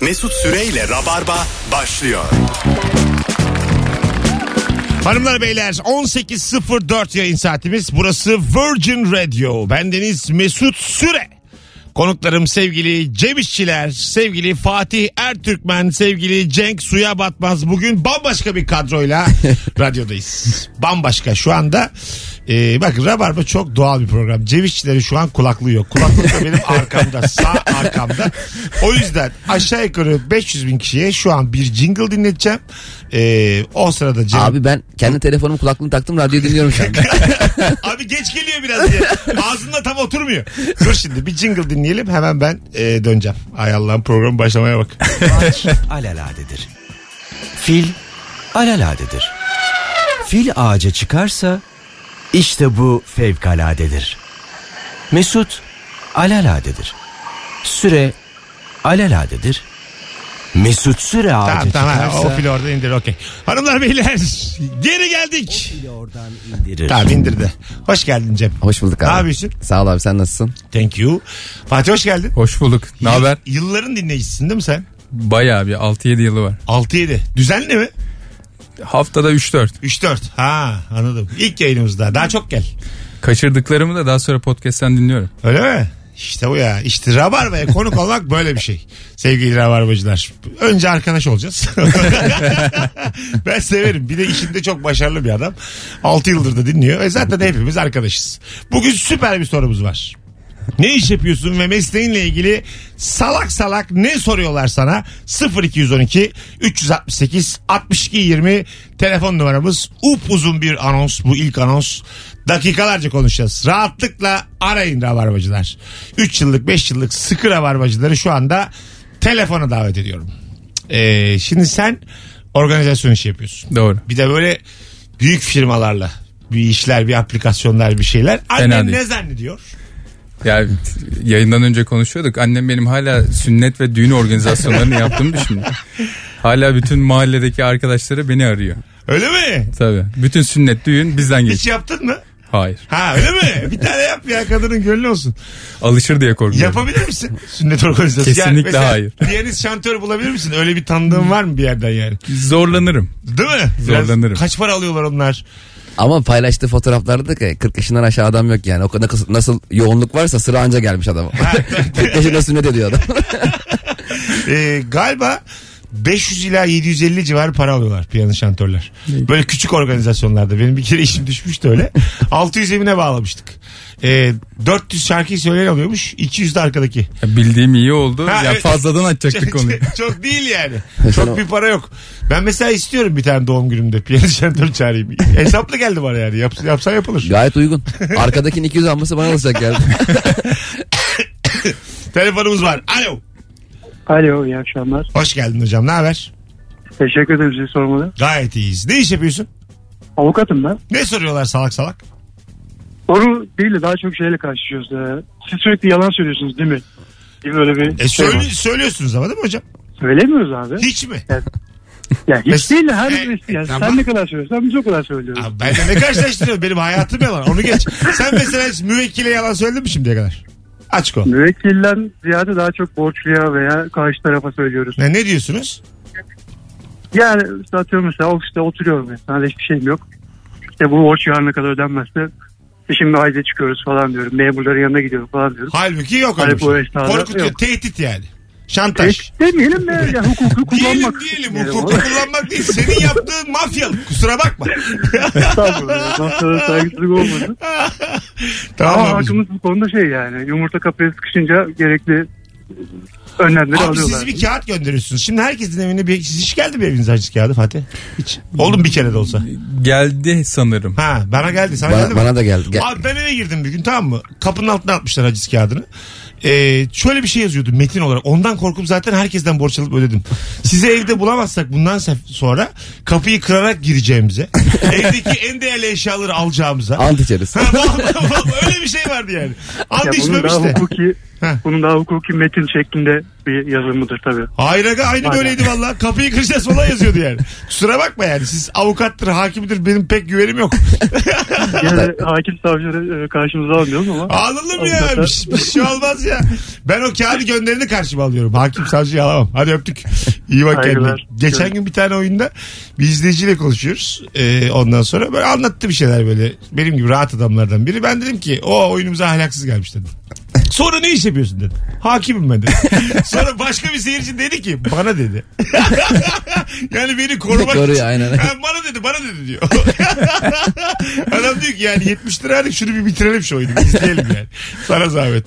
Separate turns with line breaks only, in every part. Mesut Süreyle Rabarba başlıyor.
Hanımlar beyler 18.04 yayın saatimiz. Burası Virgin Radio. Bendeniz Mesut Süre. Konuklarım sevgili Cem İşçiler, sevgili Fatih Ertürkmen, sevgili Cenk Suya Batmaz. Bugün bambaşka bir kadroyla radyodayız. Bambaşka şu anda. E, bakın Rabarba çok doğal bir program. Cem İşçilerin şu an kulaklığı yok. Kulaklık da benim arkamda, sağ arkamda. O yüzden aşağı yukarı 500 bin kişiye şu an bir jingle dinleteceğim. E, o sırada Cem...
Abi ben kendi telefonum kulaklığını taktım radyo dinliyorum şu anda.
Abi geç geliyor biraz diye. Ağzında tam oturmuyor. Dur şimdi bir jingle dinleyelim hemen ben e, döneceğim. Ay Allah'ım program başlamaya bak.
alaladedir. Fil alaladedir. Fil ağaca çıkarsa işte bu fevkaladedir. Mesut alaladedir. Süre alaladedir. Mesut Süre ağaca
tamam tamam
çıkarsa
o fil orada indir okey. Hanımlar beyler geri geldik.
fili oradan indirir.
Tamam indirdi. Hoş geldin Cem.
Hoş bulduk abi.
Ne yapıyorsun?
Sağ ol abi sen nasılsın?
Thank you. Fatih hoş geldin.
Hoş bulduk. Ne haber?
Y- Yılların dinleyicisisin değil mi sen?
Bayağı bir 6-7 yılı var.
6-7. Düzenli mi?
Haftada 3-4.
3-4. Ha anladım. İlk yayınımızda. Daha çok gel.
Kaçırdıklarımı da daha sonra podcast'ten dinliyorum.
Öyle mi? İşte bu ya. İşte Rabarba'ya konuk olmak böyle bir şey. Sevgili Rabarbacılar. Önce arkadaş olacağız. ben severim. Bir de işinde çok başarılı bir adam. 6 yıldır da dinliyor. E zaten hepimiz arkadaşız. Bugün süper bir sorumuz var. Ne iş yapıyorsun ve mesleğinle ilgili salak salak ne soruyorlar sana? 0212 368 62 20 telefon numaramız. Upuzun bir anons bu ilk anons. Dakikalarca konuşacağız. Rahatlıkla arayın rabarbacılar. 3 yıllık 5 yıllık sıkı rabarbacıları şu anda telefona davet ediyorum. Ee, şimdi sen organizasyon işi yapıyorsun.
Doğru.
Bir de böyle büyük firmalarla bir işler, bir aplikasyonlar, bir şeyler. Annen
değil.
ne zannediyor?
Yani yayından önce konuşuyorduk. Annem benim hala sünnet ve düğün organizasyonlarını yaptığımı düşünüyor. Hala bütün mahalledeki arkadaşları beni arıyor.
Öyle mi?
Tabii. Bütün sünnet düğün bizden
Hiç
geçiyor.
yaptın mı?
Hayır.
Ha öyle mi? Bir tane yap ya kadının gönlü olsun.
Alışır diye korkuyorum.
Yapabilir misin? Sünnet organizasyonu.
Kesinlikle
mesela
hayır.
Piyanist şantör bulabilir misin? Öyle bir tanıdığın var mı bir yerden yani?
Zorlanırım.
Değil mi? Biraz
Zorlanırım.
Kaç para alıyorlar onlar?
Ama paylaştığı fotoğraflarda da 40 yaşından aşağı adam yok yani. O kadar nasıl- nasıl yoğunluk varsa sıra anca gelmiş adam. 40 yaşında sünnet ediyor adam.
Ee, galiba 500 ila 750 civarı para alıyorlar piyano şantörler. Böyle küçük organizasyonlarda. Benim bir kere işim düşmüştü öyle. 600 evine bağlamıştık. Ee, 400 şarkıyı söyleyen alıyormuş. 200 de arkadaki.
Ya bildiğim iyi oldu.
Ha,
ya
evet. Şey-
fazladan açacaktık
Çok-
konuyu.
Çok, çok değil yani. Çok bir para yok. Ben mesela istiyorum bir tane doğum günümde piyano şantör çağırayım. Hesaplı geldi bana yani. Yap, yapsan yapılır.
Gayet uygun. Arkadakinin 200 alması bana alacak geldi.
Telefonumuz var. Alo.
Alo iyi akşamlar.
Hoş geldin hocam. Ne haber?
Teşekkür ederim sizi sormalı.
Gayet iyiyiz. Ne iş yapıyorsun?
Avukatım ben.
Ne soruyorlar salak salak?
Soru değil de daha çok şeyle karşılaşıyoruz. Ee, Siz sürekli yalan söylüyorsunuz değil mi? Gibi böyle bir
E,
şey var.
söyle- söylüyorsunuz ama değil mi hocam?
Söylemiyoruz abi.
Hiç mi?
Ya
Mes-
hiç değil de
E,
her birisi. Yani
tamam.
Sen ne kadar söylüyorsan biz o kadar söylüyoruz.
Abi ben de ne karşılaştırıyorum? Benim hayatım yalan. Onu geç. Sen mesela hiç müvekkile yalan söyledin mi şimdiye kadar? Açık ol.
Müvekkilden ziyade daha çok borçluya veya karşı tarafa söylüyoruz.
Ne, ne diyorsunuz?
Yani işte atıyorum mesela ofiste oturuyorum ya. Sana da hiçbir şeyim yok. İşte bu borç yarına kadar ödenmezse işte şimdi haydi çıkıyoruz falan diyorum. Memurların yanına gidiyorum falan diyorum.
Halbuki yok öyle
Hayır,
bir şey.
bu esnada
Korkutuyor.
yok.
Tehdit yani. Şantaj.
Tehdit E, demeyelim de ya hukuku
Diyelim
kullanmak.
diyelim hukuku kullanmak değil. Senin yaptığın mafyalık. Kusura bakma.
Estağfurullah. Masada saygısızlık olmadı. Ama
tamam abicim.
hakkımız bu konuda şey yani yumurta kafaya sıkışınca gerekli önlemleri
Abi
alıyorlar.
siz bir kağıt gönderiyorsunuz. Şimdi herkesin evine bir... Siz hiç geldi mi evinize haciz kağıdı Fatih? Hiç. Oldu mu bir kere de olsa?
Geldi sanırım.
Ha bana geldi. Sana geldi
Bana,
mi?
bana da geldi. Gel-
Abi ben eve girdim bir gün tamam mı? Kapının altına atmışlar haciz kağıdını. Ee, şöyle bir şey yazıyordu metin olarak. Ondan korkup zaten herkesten borç alıp ödedim. Sizi evde bulamazsak bundan sef- sonra kapıyı kırarak gireceğimize, evdeki en değerli eşyaları alacağımıza.
Ant içeriz.
Ha, vallahi- vallahi öyle bir şey vardı yani.
ya
Ant
bunun
içmemiş
daha
de.
hukuki
Heh.
Bunun daha hukuki metin şeklinde bir yazımıdır tabii.
Hayır aga aynı
Aynen.
böyleydi valla. Kapıyı kıracağız falan yazıyordu yani. Kusura bakma yani siz avukattır, hakimdir benim pek güvenim yok.
Yine de hakim savcıları e, karşımıza almıyoruz ama.
Ağlanırım ya.
Avukatlar-
Bir, şey- bir şey olmaz ya. Ben o kağıdı gönderini karşıma alıyorum. Hakim savcıyı alamam. Hadi öptük. İyi bak kendine.
Saygılar.
Geçen gün bir tane oyunda bir izleyiciyle konuşuyoruz. Ee, ondan sonra böyle anlattı bir şeyler böyle. Benim gibi rahat adamlardan biri. Ben dedim ki o oyunumuza ahlaksız gelmiş dedim. Sonra ne iş yapıyorsun dedi. Hakimim ben dedi. Sonra başka bir seyirci dedi ki bana dedi. yani beni korumak
Koruyor,
için.
aynen.
Ha, bana dedi bana dedi diyor. Adam diyor ki yani 70 liraydık şunu bir bitirelim şu oyunu. bir izleyelim yani. Sana zahmet.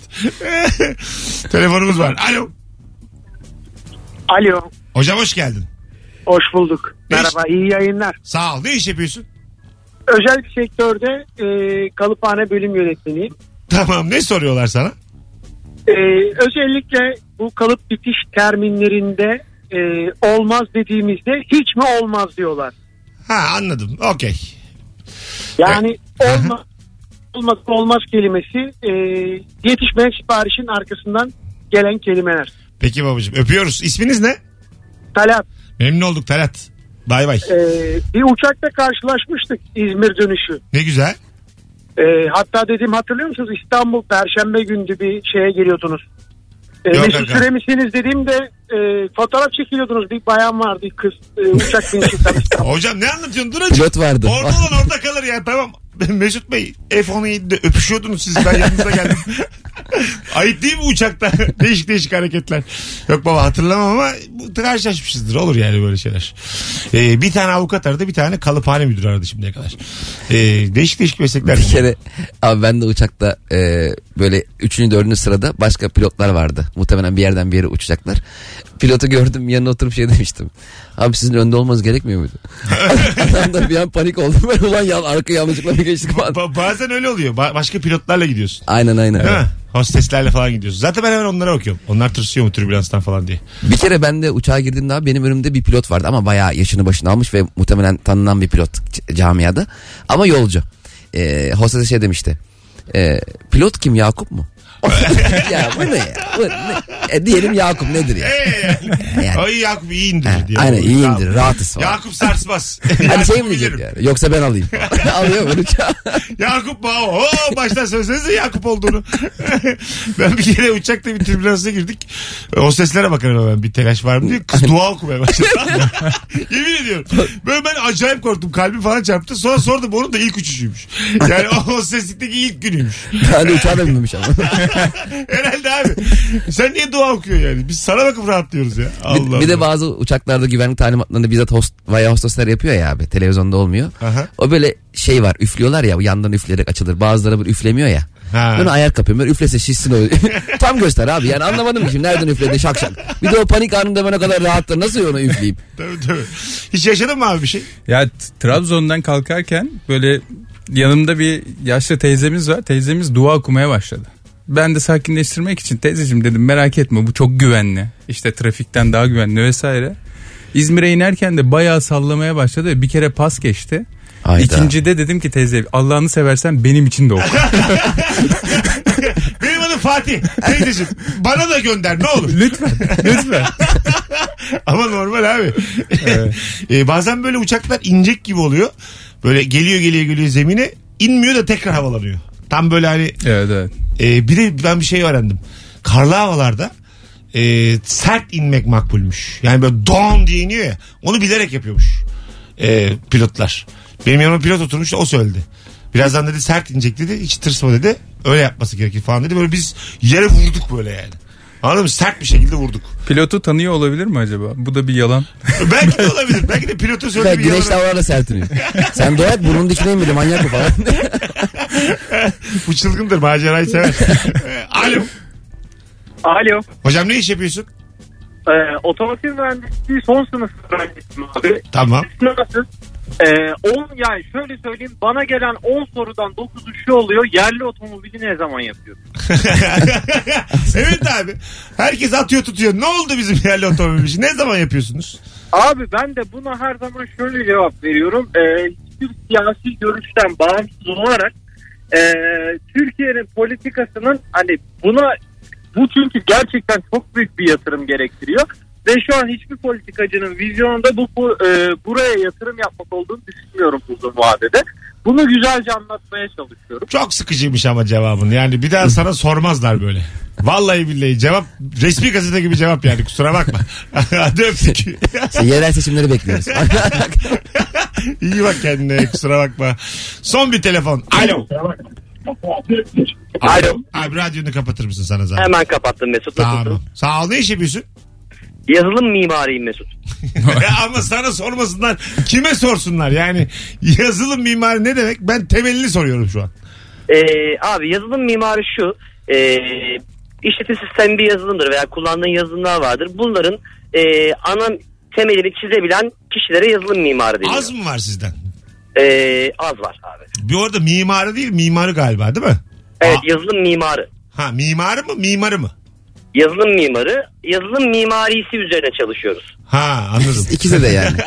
Telefonumuz var. Alo.
Alo,
Hocam hoş geldin.
hoş bulduk.
Ne iş-
Merhaba, iyi yayınlar.
Sağ ol. Ne iş yapıyorsun?
Özel bir sektörde e, kalıphane bölüm yönetmeniyim.
Tamam ne soruyorlar sana?
E, özellikle bu kalıp bitiş terminlerinde e, olmaz dediğimizde hiç mi olmaz diyorlar.
Ha anladım. Okey.
Yani olmaz olmaz olmaz kelimesi e, yetişmeyen siparişin arkasından gelen kelimeler.
Peki babacığım öpüyoruz. İsminiz ne?
Talat
Memnun olduk Talat. Bay bay.
e, bir uçakta karşılaşmıştık İzmir dönüşü.
Ne güzel.
E, hatta dedim hatırlıyor musunuz İstanbul Perşembe gündü bir şeye geliyordunuz. E,
Yok
Mesut
efendim.
Süre misiniz dediğimde e, fotoğraf çekiliyordunuz bir bayan vardı bir kız e, uçak binişinden İstanbul.
Hocam ne anlatıyorsun? Dur azıcık.
Pilot vardı.
Orada olan orada kalır ya tamam. Mesut Bey F-17'de öpüşüyordunuz siz ben yanınıza geldim. Ayıp değil mi uçakta? değişik değişik hareketler. Yok baba hatırlamam ama bu karşılaşmışızdır olur yani böyle şeyler. Ee, bir tane avukat aradı bir tane kalıphane müdürü aradı şimdiye kadar. Ee, değişik değişik meslekler.
Bir kere abi ben de uçakta e, böyle üçüncü dördüncü sırada başka pilotlar vardı. Muhtemelen bir yerden bir yere uçacaklar. Pilotu gördüm yanına oturup şey demiştim. Abi sizin önde olmanız gerekmiyor muydu? Adam da bir an panik oldu. Ben ulan ya arka yanlışlıkla mı geçtik falan.
Ba- bazen öyle oluyor. Ba- başka pilotlarla gidiyorsun.
Aynen aynen.
Değil mi? Hosteslerle falan gidiyorsun. Zaten ben hemen onlara bakıyorum. Onlar tırsıyor mu türbülanstan falan diye.
Bir kere ben de uçağa girdiğimde abi benim önümde bir pilot vardı ama bayağı yaşını başına almış ve muhtemelen tanınan bir pilot c- camiada. Ama yolcu. Ee, hostese şey demişti. Ee, pilot kim Yakup mu? ya bu ne ya? Bu ne? E, diyelim Yakup nedir ya?
Ee,
Yani.
Ay Yakup iyi indirir diye.
Aynen iyi
Tamam.
indir rahatız falan.
Yakup sarsmaz.
Hani
Yakup
şey mi diyecek
bilirim.
yani? Yoksa ben alayım. Alıyor böyle uçağı.
Yakup Bao. Oo, baştan söylesenize Yakup olduğunu. ben bir kere uçakta bir türbülansa girdik. O seslere bakarım hemen bir telaş var mı diye.
Hani-
Kız dua okumaya başladı. Yemin ediyorum. Böyle ben acayip korktum. Kalbim falan çarptı. Sonra sordum onun da ilk uçuşuymuş. Yani o, o seslikteki ilk günüymüş.
Daha da uçağa da binmemiş ama.
Herhalde abi. Sen niye dua okuyorsun yani? Biz sana bakıp rahatlıyoruz ya.
bir,
Allah
bir de
Allah.
bazı uçaklarda güvenlik talimatlarını bizzat host veya hostesler yapıyor ya abi. Televizyonda olmuyor.
Aha.
O böyle şey var üflüyorlar ya yandan üfleyerek açılır. Bazıları böyle üflemiyor ya.
Ha.
Ben ayar kapıyorum. Ben üflese şişsin o. Tam göster abi. Yani anlamadım ki şimdi nereden üfledi şak şak. Bir de o panik anında ben o kadar rahattır. Nasıl onu üfleyeyim?
Tabii, tabii. Hiç yaşadın mı abi bir şey?
Ya t- Trabzon'dan kalkarken böyle yanımda bir yaşlı teyzemiz var. Teyzemiz dua okumaya başladı. Ben de sakinleştirmek için teyzeciğim dedim merak etme bu çok güvenli. İşte trafikten daha güvenli vesaire. İzmir'e inerken de bayağı sallamaya başladı. ve Bir kere pas geçti.
Hayda.
İkincide dedim ki teyze Allah'ını seversen benim için de oku.
Benim adım Fatih. Teyzeciğim bana da gönder ne olur.
lütfen lütfen.
Ama normal abi. E, bazen böyle uçaklar inecek gibi oluyor. Böyle geliyor geliyor geliyor zemine inmiyor da tekrar havalanıyor. Tam böyle hani
evet evet.
e, bir de ben bir şey öğrendim. Karlı havalarda e, sert inmek makbulmüş. Yani böyle don diye iniyor ya. Onu bilerek yapıyormuş e, pilotlar. Benim yanıma pilot oturmuş o söyledi. Birazdan dedi sert inecek dedi. Hiç tırsma dedi. Öyle yapması gerekir falan dedi. Böyle biz yere vurduk böyle yani. Anladın mı? Sert bir şekilde vurduk.
Pilotu tanıyor olabilir mi acaba? Bu da bir yalan.
Belki de olabilir. Belki de pilotun
Ben
söylediği bir
güneş
yalan-
davalarla sertiniyor. Sen dua et burnun dikine miydi manyak mı falan.
Bu çılgındır macerayı sever. Ee, Alo.
Alo,
Hocam ne iş yapıyorsun?
e, otomotiv mühendisliği son sınıf öğrencisiyim abi.
Tamam.
Sınırsız. E, on, yani şöyle söyleyeyim bana gelen 10 sorudan 9'u şu oluyor yerli otomobili ne zaman yapıyor?
evet abi. Herkes atıyor tutuyor. Ne oldu bizim yerli otomobil işi? Ne zaman yapıyorsunuz?
Abi ben de buna her zaman şöyle cevap veriyorum. Ee, hiçbir siyasi görüşten e, bağımsız olarak ee, Türkiye'nin politikasının hani buna Bu çünkü gerçekten çok büyük bir yatırım gerektiriyor. Ve şu an hiçbir politikacının vizyonunda bu, bu e, buraya yatırım yapmak olduğunu düşünmüyorum uzun vadede. Bunu güzelce anlatmaya çalışıyorum.
Çok sıkıcıymış ama cevabın. Yani bir daha sana sormazlar böyle. Vallahi billahi cevap resmi gazete gibi cevap yani kusura bakma. Hadi öptük.
İşte yerel seçimleri bekliyoruz.
İyi bak kendine kusura bakma. Son bir telefon. Alo.
Alo.
Abi radyonu kapatır mısın sana zaten?
Hemen kapattım Mesut.
Tamam.
Nasılsın?
Sağ ol ne iş yapıyorsun?
Yazılım mimariyim Mesut.
Ya ama sana sormasınlar. Kime sorsunlar? Yani yazılım mimari ne demek? Ben temelini soruyorum şu an.
Ee, abi yazılım mimarı şu. E, işletim sistemi bir yazılımdır veya kullandığın yazılımlar vardır. Bunların e, ana temelini çizebilen kişilere yazılım mimarı deniyor.
Az mı var sizden?
Ee, az var abi.
Bir orada mimarı değil mimarı galiba değil mi?
Evet
Aa.
yazılım mimarı.
Ha mimarı mı mimarı mı?
Yazılım mimarı, yazılım mimarisi üzerine çalışıyoruz.
Ha anladım.
İkisi de yani.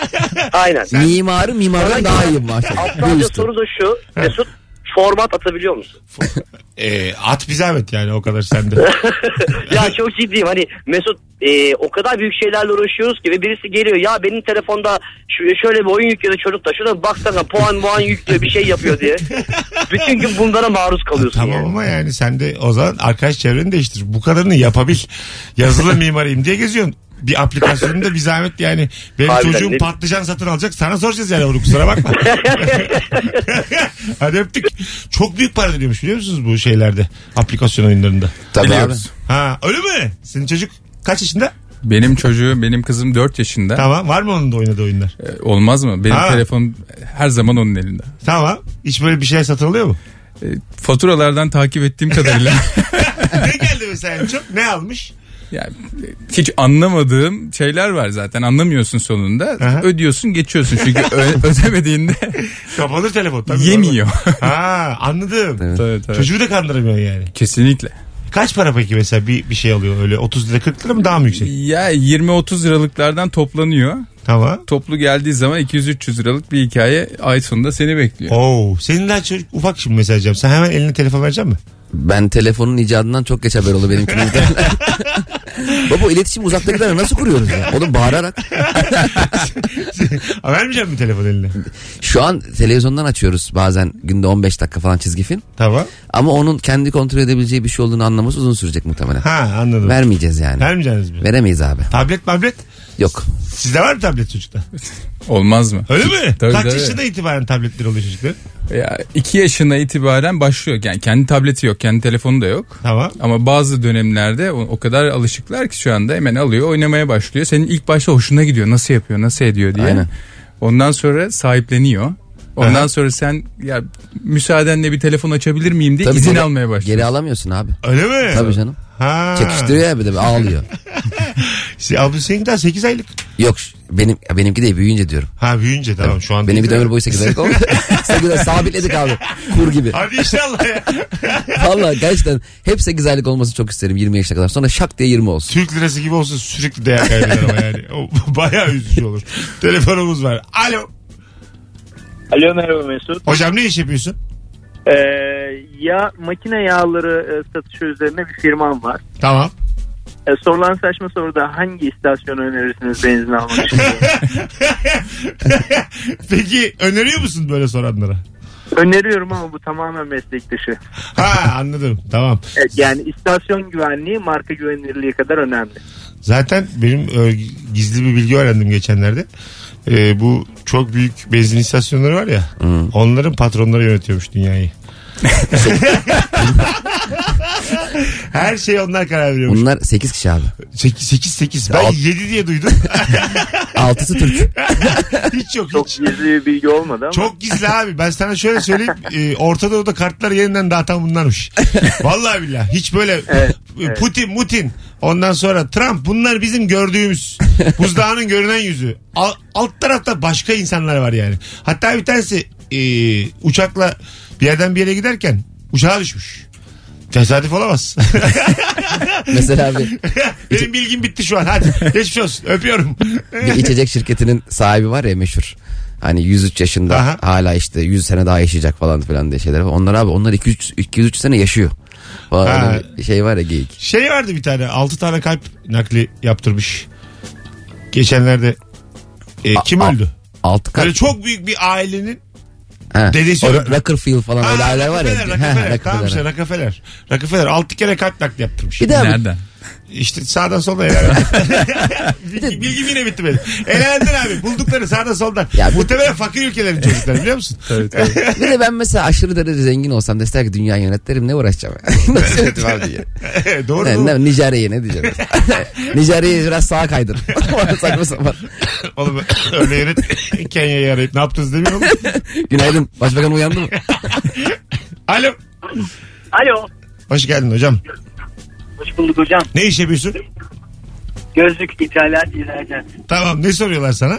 Aynen.
Mimarı mimardan daha iyi maşallah. Bu
Aptalca
üstü.
soru da şu. Mesut format atabiliyor musun?
Ee, at bir zahmet yani o kadar sende.
ya çok ciddiyim hani Mesut e, o kadar büyük şeylerle uğraşıyoruz ki ve birisi geliyor ya benim telefonda şu- şöyle bir oyun yükledi çocuk da şuna baksana puan puan yüklüyor bir şey yapıyor diye. Bütün gün bunlara maruz kalıyorsun.
tamam
yani.
ama yani sen de o zaman arkadaş çevreni değiştir. Bu kadarını yapabil. Yazılım mimarıyım diye geziyorsun. Bir aplikasyonun da bir zahmet yani. Benim
Harbiden
çocuğum
ne-
patlıcan satın alacak. Sana soracağız yani bunu kusura bakma. Hadi öptük. Çok büyük para dönüyormuş biliyor musunuz bu şeylerde? Aplikasyon oyunlarında.
Tabii abi.
Biliyoruz.
Ha öyle mi? Senin çocuk kaç yaşında?
Benim çocuğu, benim kızım 4 yaşında.
Tamam. Var mı onun da oynadığı oyunlar?
Ee, Olmaz mı? Benim
Ha.
telefon her zaman onun elinde.
Tamam. Hiç böyle bir şey satılıyor mu?
Ee, Faturalardan takip ettiğim kadarıyla
ne geldi mesela en çok? Ne almış?
yani hiç anlamadığım şeyler var zaten. Anlamıyorsun sonunda.
Aha.
Ödüyorsun, geçiyorsun. Çünkü ö- ödemediğinde
Kapanır telefon. Tabii
yemiyor.
Ha anladım.
Tabii, tabii.
Çocuğu da kandıramıyor yani.
Kesinlikle.
Kaç para peki mesela bir, bir şey alıyor öyle 30 lira 40 lira mı daha mı yüksek?
Ya 20-30 liralıklardan toplanıyor.
Tamam.
Toplu geldiği zaman 200-300 liralık bir hikaye ay sonunda seni bekliyor.
Oo, senin daha çocuk ufak şimdi mesela Cem. Sen hemen eline telefon verecek misin?
Ben telefonun icadından çok geç haber oldu benimkinizden. Baba iletişim uzaktakilerle nasıl kuruyoruz ya? Oğlum bağırarak.
Ha, Vermeyeceğim mi telefon eline?
Şu an televizyondan açıyoruz bazen günde 15 dakika falan çizgi film.
Tamam.
Ama onun kendi kontrol edebileceği bir şey olduğunu anlaması uzun sürecek muhtemelen.
Ha anladım.
Vermeyeceğiz yani.
Vermeyeceğiniz mi?
Veremeyiz abi.
Tablet tablet.
Yok.
Sizde var mı tablet çocukta?
Olmaz mı?
Öyle mi?
Tabii,
Kaç
tabii.
yaşında itibaren tabletler oluyor çocuklar?
Ya 2 yaşına itibaren başlıyor. Yani kendi tableti yok, kendi telefonu da yok.
Tamam.
Ama bazı dönemlerde o, o kadar alışıklar ki şu anda hemen alıyor, oynamaya başlıyor. Senin ilk başta hoşuna gidiyor. Nasıl yapıyor, nasıl ediyor diye.
Aynen.
Ondan sonra sahipleniyor. Ondan sonra sen ya müsaadenle bir telefon açabilir miyim diye
Tabii
izin
geri-
almaya başlıyor.
Geri alamıyorsun abi.
Öyle mi?
Tabii canım.
Ha.
Çekiştiriyor ya bir de ağlıyor.
Se- Abi seninki daha 8 aylık.
Yok benim benimki de büyüyünce diyorum.
Ha büyüyünce tamam şu an.
Benim bir de
değil.
ömür boyu 8 aylık oldu. Sekiz ay- sabitledik abi. Kur gibi.
Hadi inşallah ya.
Vallahi gerçekten hep 8 aylık olmasını çok isterim 20 yaşına kadar. Sonra şak diye 20 olsun.
Türk lirası gibi olsun sürekli değer kaybeder ama yani. O bayağı üzücü olur. Telefonumuz var. Alo.
Alo merhaba Mesut.
Hocam ne iş yapıyorsun?
Ee, ya makine yağları e, satışı üzerine bir firmam var.
Tamam.
E, sorulan saçma soruda hangi istasyonu önerirsiniz benzin almak için?
Peki öneriyor musun böyle soranlara?
Öneriyorum ama bu tamamen meslek dışı.
Ha anladım. Tamam.
Evet, yani istasyon güvenliği marka güvenilirliği kadar önemli.
Zaten benim e, gizli bir bilgi öğrendim geçenlerde. E, bu çok büyük benzin istasyonları var ya. Onların patronları yönetiyormuş dünyayı. Her şey onlar karar veriyormuş.
Bunlar 8 kişi abi.
8 8. Ben
Alt-
7 diye duydum.
6'sı Türk.
hiç yok
Çok
hiç.
gizli bir bilgi olmadı ama.
Çok gizli abi. Ben sana şöyle söyleyeyim. E, Orta Doğu'da kartlar yeniden dağıtan bunlarmış. Vallahi billahi. Hiç böyle Putin, Mutin ondan sonra Trump bunlar bizim gördüğümüz buzdağının görünen yüzü. Al- alt tarafta başka insanlar var yani. Hatta bir tanesi e, uçakla bir yerden bir yere giderken uçağa düşmüş. Tesadüf olamaz.
Mesela abi
Benim bilgim bitti şu an. Hadi geçmiş olsun. Öpüyorum.
bir içecek şirketinin sahibi var ya meşhur. Hani 103 yaşında
Aha.
hala işte 100 sene daha yaşayacak falan filan diye şeyler. var. Onlar abi onlar 2-3 sene yaşıyor. Falan
Ha.
öyle bir şey var ya geyik.
Şey vardı bir tane 6 tane kalp nakli yaptırmış. Geçenlerde e, kim
a-
öldü?
Altı kat.
Böyle çok büyük bir ailenin
Ha.
dedesi
O
öldü.
Ro- Rockefeller falan öyle
Aa,
aileler var ya.
Rockefeller,
Ha,
Rockefeller. Tamam
Rockefeller.
işte Rockefeller. Rockefeller 6 kere kalp nakli yaptırmış.
Bir de abi,
Nereden?
İşte sağdan soldan herhalde. bilgi, bilgim yine bitti benim. Elenden abi buldukları sağdan soldan.
Ya bu-
Muhtemelen fakir ülkelerin çocukları biliyor musun?
Tabii, tabii.
bir de ben mesela aşırı derece zengin olsam deseler ki dünya yönetlerim ne uğraşacağım? Nasıl yönetim abi diye.
Doğru
Ne,
mu?
ne, Nijerya'ya ne diyeceğim? Nijerya'ya biraz sağa kaydır. Saçma sapan.
Oğlum öyle yönet Kenya'yı arayıp ne yaptınız demiyor musun?
Günaydın. Başbakan uyandı mı?
Alo.
Alo.
Hoş geldin hocam.
Hoş bulduk hocam.
Ne iş yapıyorsun?
Gözlük ithalat ihracat.
Tamam ne soruyorlar sana?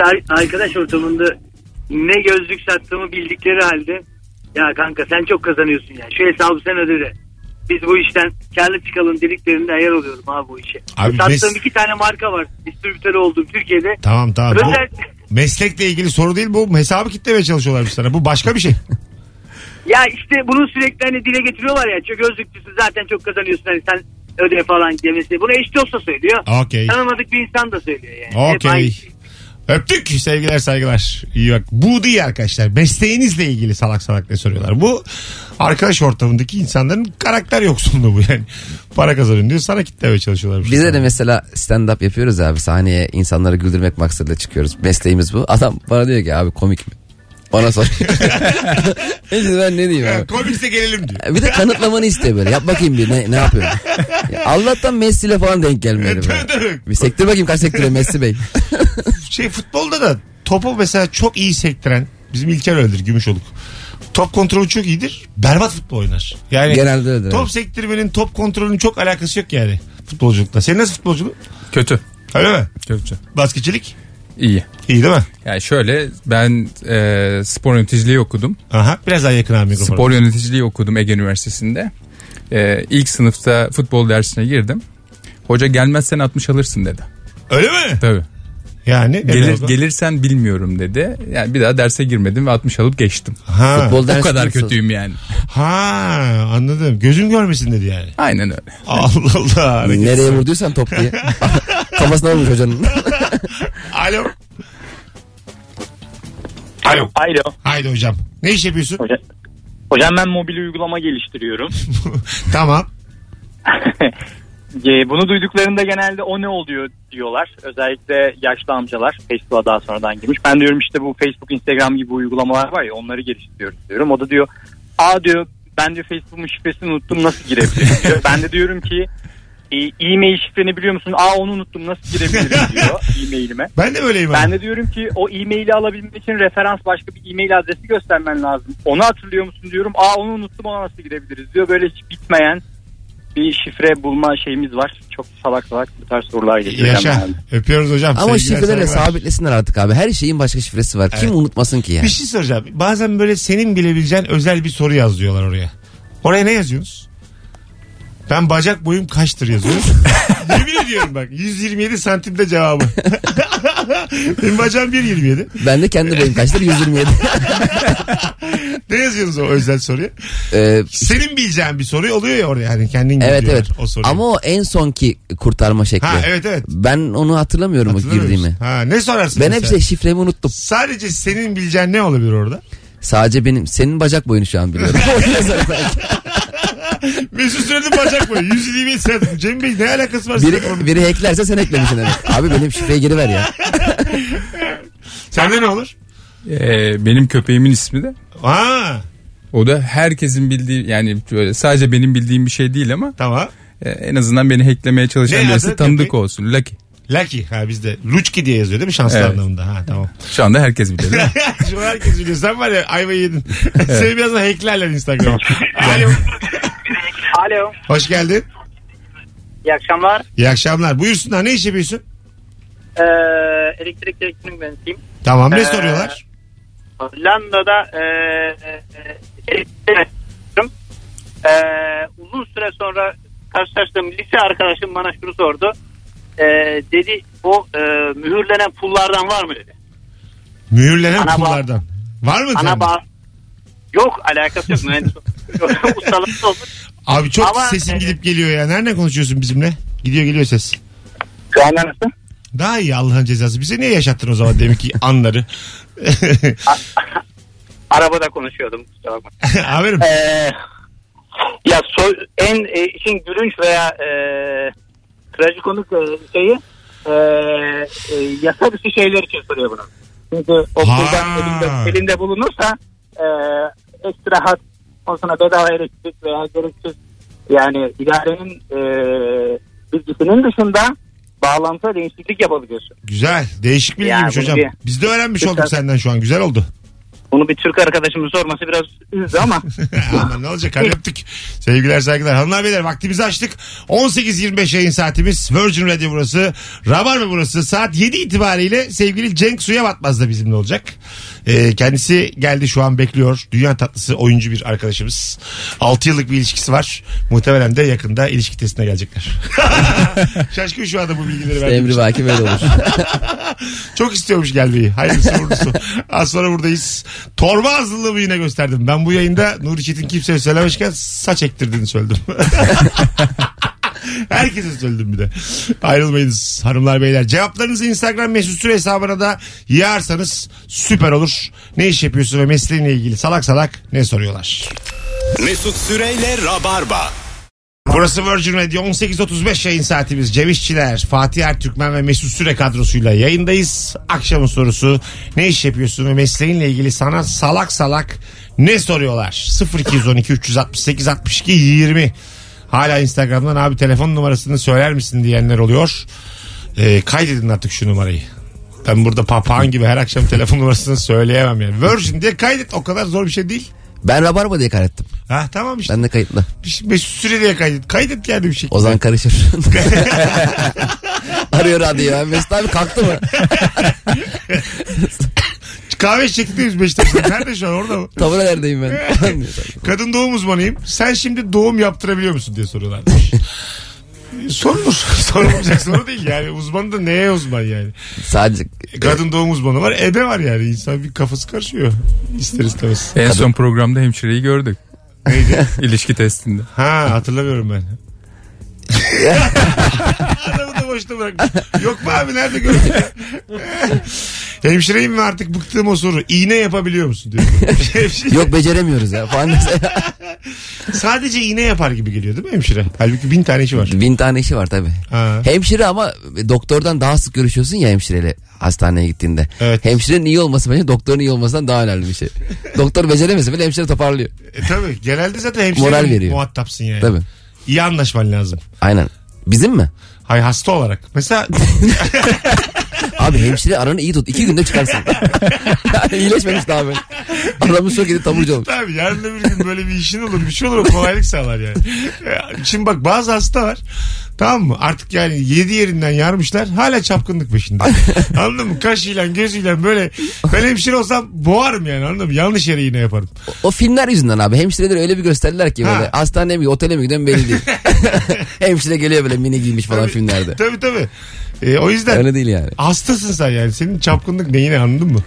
Ar- Arkadaş ortamında ne gözlük sattığımı bildikleri halde ya kanka sen çok kazanıyorsun ya. Şu hesabı sen öde de. Biz bu işten karlı çıkalım dediklerinde ayar oluyorum abi bu işe.
Abi
Sattığım
biz-
iki tane marka var. Distribütörü olduğum Türkiye'de.
Tamam tamam. Bu
Özel-
meslekle ilgili soru değil bu. Hesabı kitlemeye çalışıyorlarmış sana. Bu başka bir şey.
Ya işte bunu sürekli hani dile getiriyorlar ya. Çok gözlükçüsün zaten çok kazanıyorsun hani sen öde falan demesi. Bunu eş dost da söylüyor.
Okey.
Tanımadık bir insan da söylüyor yani. Hep aynı
Okey.
şey.
Öptük. Sevgiler saygılar. İyi bak. Bu değil arkadaşlar. Mesleğinizle ilgili salak salak ne soruyorlar. Bu arkadaş ortamındaki insanların karakter yoksunluğu bu yani. Para kazanın diyor. Sana kitlemeye çalışıyorlar.
Bize de mesela stand up yapıyoruz abi sahneye insanları güldürmek maksadıyla çıkıyoruz. Mesleğimiz bu. Adam bana diyor ki abi komik mi? Ona sor. Neyse ben ne diyeyim abi. E,
Komikse gelelim diyor.
Bir de kanıtlamanı istiyor böyle. Yap bakayım bir ne, ne yapıyorsun? Ya Allah'tan Messi'yle falan denk gelmedi.
Evet,
böyle.
E, tabii, tabii.
bir sektir bakayım kaç sektire Messi Bey.
Şey futbolda da topu mesela çok iyi sektiren bizim İlker öyledir Gümüşoluk. Top kontrolü çok iyidir. Berbat futbol oynar. Yani
Genelde öyledir,
Top
evet.
sektirmenin top kontrolünün çok alakası yok yani futbolculukla. Senin nasıl futbolculuğun?
Kötü.
Öyle mi?
Kötü.
Basketçilik?
İyi.
İyi değil mi?
Yani şöyle ben e, spor yöneticiliği okudum.
Aha. Biraz daha yakın abi mikrofonu.
Spor yöneticiliği okudum Ege Üniversitesi'nde. E, ilk sınıfta futbol dersine girdim. Hoca gelmezsen 60 alırsın dedi.
Öyle mi?
Tabii.
Yani.
Gelir,
Evet.
gelirsen bilmiyorum dedi. Yani bir daha derse girmedim ve 60 alıp geçtim.
Ha.
Futbol
O
dersi
kadar
nasıl?
kötüyüm yani.
ha anladım. Gözüm görmesin dedi yani.
Aynen öyle.
Allah Allah. hareket.
Nereye vurduysan top diye. Kafasına vurmuş hocanın.
Alo. Alo.
Alo.
şey.
Haydi hocam. Ne iş yapıyorsun?
Hocam, hocam ben mobil uygulama geliştiriyorum.
tamam.
E, Bunu duyduklarında genelde o ne oluyor diyorlar. Özellikle yaşlı amcalar Facebook'a daha sonradan girmiş. Ben diyorum işte bu Facebook, Instagram gibi uygulamalar var ya onları geliştiriyoruz diyorum. O da diyor aa diyor ben diyor Facebook'un şifresini unuttum nasıl girebilirim diyor. Ben de diyorum ki "E, e-mail şifreni biliyor musun? Aa onu unuttum nasıl girebilirim diyor e-mailime.
Ben de böyleyim. abi.
Ben de diyorum ki o e-maili alabilmek için referans başka bir e-mail adresi göstermen lazım. Onu hatırlıyor musun diyorum. Aa onu unuttum ona nasıl girebiliriz diyor. Böyle hiç bitmeyen bir şifre bulma şeyimiz var. Çok salak salak bu tarz sorular geliyor.
Yaşa.
Yani.
Öpüyoruz hocam.
Ama
Sevgiler,
şifrelerle
saygılar.
sabitlesinler artık abi. Her şeyin başka şifresi var. Kim unutmasın ki yani?
Bir şey soracağım. Bazen böyle senin bilebileceğin özel bir soru yaz diyorlar oraya. Oraya ne yazıyorsunuz? Ben bacak boyum kaçtır yazıyorum. Yemin ediyorum bak 127 santimde cevabı. Benim bacağım 1.27.
Ben de kendi boyum kaçtır 127.
Ne yazıyorsunuz o özel soruya?
Ee,
Senin bileceğin bir soru oluyor ya oraya. Yani kendin
Evet
giriyorlar
evet.
O soruyu.
Ama o en sonki kurtarma şekli.
Ha evet evet.
Ben onu hatırlamıyorum o
Hatırlamıyor musun?
girdiğimi.
Ha, ne sorarsın?
Ben
mesela?
hep şey şifremi unuttum.
Sadece senin bileceğin ne olabilir orada?
Sadece benim senin bacak boyunu şu an biliyorum. O yüzden belki.
Mesut Süren'in bacak boyu. 127 santim. Cem Bey ne alakası var? senin?
biri, biri hacklerse sen eklemişsin demek. Abi benim şifreyi geri ver ya.
Sende ne olur?
Ee, benim köpeğimin ismi de.
Aa,
O da herkesin bildiği yani böyle sadece benim bildiğim bir şey değil ama
tamam.
e, en azından beni hacklemeye
Ne
çalışan birisi
adı
tanıdık
köpeği?
olsun. Lucky.
Lucky ha bizde. Lucky diye yazıyor değil mi şanslı
Evet.
anlamında? Ha tamam.
Şu anda herkes bilir. değil mi?
Şu an herkes biliyor. Sen var ya ayvayı yedin. Seni birazdan hacklerler Instagram'a. Alo.
Alo.
Hoş geldin.
İyi akşamlar.
İyi akşamlar. Buyursunlar. Ne iş yapıyorsun?
Ee, elektrik elektronik mühendisiyim.
Tamam ne
Ee,
soruyorlar?
Hollanda'da ee, eee, eee, eee, ee, uzun süre sonra karşılaştığım lise arkadaşım bana şunu sordu. Eee, dedi o eee, mühürlenen pullardan var mı dedi.
Mühürlenen
ana bağ-
pullardan. Var mı?
Ana
sende?
bağ... Yok alakası yok mühendis. Ustalık olur.
Abi çok
Ama- e,
sesin gidip geliyor ya. Nereden konuşuyorsun bizimle? Gidiyor geliyor ses.
Şu anda nasıl?
Daha iyi Allah'ın cezası. Bize niye yaşattın o zaman demek ki anları?
Arabada konuşuyordum. kusura bakma.
Aferin.
Ee, ya so, en e, işin gülünç veya e, trajikomik e, şeyi e, e, yasa dışı şeyler için soruyor bunu. Çünkü o
Ha.
kurban elinde, elinde bulunursa e, ekstra hat ondan sonra bedava elektrik veya gereksiz yani idarenin e, bilgisinin dışında bağlantı değişiklik yapabiliyorsun.
Güzel. Değişik
Ya,
bilgiymiş
bunu
hocam.
bir-
Biz de öğrenmiş
Lütfen.
olduk senden şu an. Güzel oldu.
Bunu bir Türk arkadaşımın sorması biraz üzdü ama
Aman ne olacak hadi öptük. Sevgiler saygılar. Hanımlar beyler vaktimizi açtık. 18.25 yayın saatimiz. Virgin Radio burası. Rabar mı burası? Saat 7 itibariyle sevgili Cenk Suya Batmaz da bizimle olacak. Ee, kendisi geldi şu an bekliyor. Dünya tatlısı oyuncu bir arkadaşımız. 6 yıllık bir ilişkisi var. Muhtemelen de yakında ilişki testine gelecekler. Şaşkın şu anda bu bilgileri verdiğim
Emri
için.
belki böyle olur.
Çok istiyormuş gelmeyi. Hayırlısı uğurlusu. Az sonra buradayız. Torba hazırlığımı yine gösterdim. Ben bu yayında Nuri Çetin kimseye söylemişken saç ektirdiğini söyledim. Herkese söyledim bir de. Ayrılmayınız hanımlar beyler. Cevaplarınızı Instagram mesut süre hesabına da yağarsanız süper olur. Ne iş yapıyorsun ve mesleğinle ilgili salak salak ne soruyorlar.
Mesut Süreyle Rabarba.
Burası Virgin Radio 18.35 yayın saatimiz. Cem İşçiler, Fatih Ertürkmen ve Mesut Süre kadrosuyla yayındayız. Akşamın sorusu ne iş yapıyorsun ve mesleğinle ilgili sana salak salak ne soruyorlar? 0212 368 62 20 Hala Instagram'dan abi telefon numarasını söyler misin diyenler oluyor. Ee, kaydedin artık şu numarayı. Ben burada papağan gibi her akşam telefon numarasını söyleyemem yani. Virgin diye kaydet o kadar zor bir şey değil.
Ben Rabarba diye kaydettim.
Ha tamam işte.
Ben de kayıtlı.
Mesut Süre diye kaydet. Kaydet yani bir şey.
Ozan karışır. Arıyor radyoya. Mesut abi kalktı mı?
Kahve çektiğimiz Beşiktaş'ta. Nerede şu an orada mı?
Tavır neredeyim ben?
Kadın doğum uzmanıyım. Sen şimdi doğum yaptırabiliyor musun diye soruyorlar. demiş. Sorulur. Sorulmayacak soru değil yani. Uzman da neye uzman yani? E,
Sadece
Kadın doğum uzmanı var. Ebe var yani. İnsan bir kafası karışıyor. İster istemez.
En son programda hemşireyi gördük.
Neydi?
İlişki testinde.
Ha hatırlamıyorum ben. Adamı da boşta bırak. Yok mu abi nerede gördün? ya? Hemşireyim mi artık bıktığım o soru. İğne yapabiliyor musun diyor. Hemşire-
yok beceremiyoruz ya falan. dese-
Sadece iğne yapar gibi geliyor değil mi hemşire? Halbuki bin tane işi var.
Bin tane işi var tabii.
Ha.
Hemşire ama doktordan daha sık görüşüyorsun ya hemşireyle hastaneye gittiğinde.
Evet.
Hemşirenin iyi olması bence doktorun iyi olmasından daha önemli bir şey. Doktor beceremese bile hemşire toparlıyor.
E tabii genelde zaten hemşire
Moral veriyor.
muhatapsın yani.
Tabii.
İyi anlaşman lazım.
Aynen. Bizim mi?
Hay hasta olarak. Mesela
Abi hemşire aranı iyi tut. İki günde çıkarsın. İyileşmemiş daha ben. Adamın çok iyi taburcu olmuş.
tabii yarın öbür gün böyle bir işin olur bir şey olur o kolaylık sağlar yani. E, Şimdi bak bazı hasta var. Tamam mı? Artık yani yedi yerinden yarmışlar. Hala çapkınlık peşinde. anladın mı? Kaşıyla gözüyle böyle. Ben hemşire olsam boğarım yani anladın mı? Yanlış yere iğne yaparım.
O filmler yüzünden abi. Hemşireleri öyle bir gösterdiler ki böyle
Ha.
hastaneye mi gidiyor, otele mi gidiyor belli değil. Hemşire geliyor böyle mini giymiş falan
Tabii,
filmlerde.
Tabii tabii. E, o yüzden
Öyle değil yani.
Hastasın sen yani. Senin çapkınlık neyine anladın mı?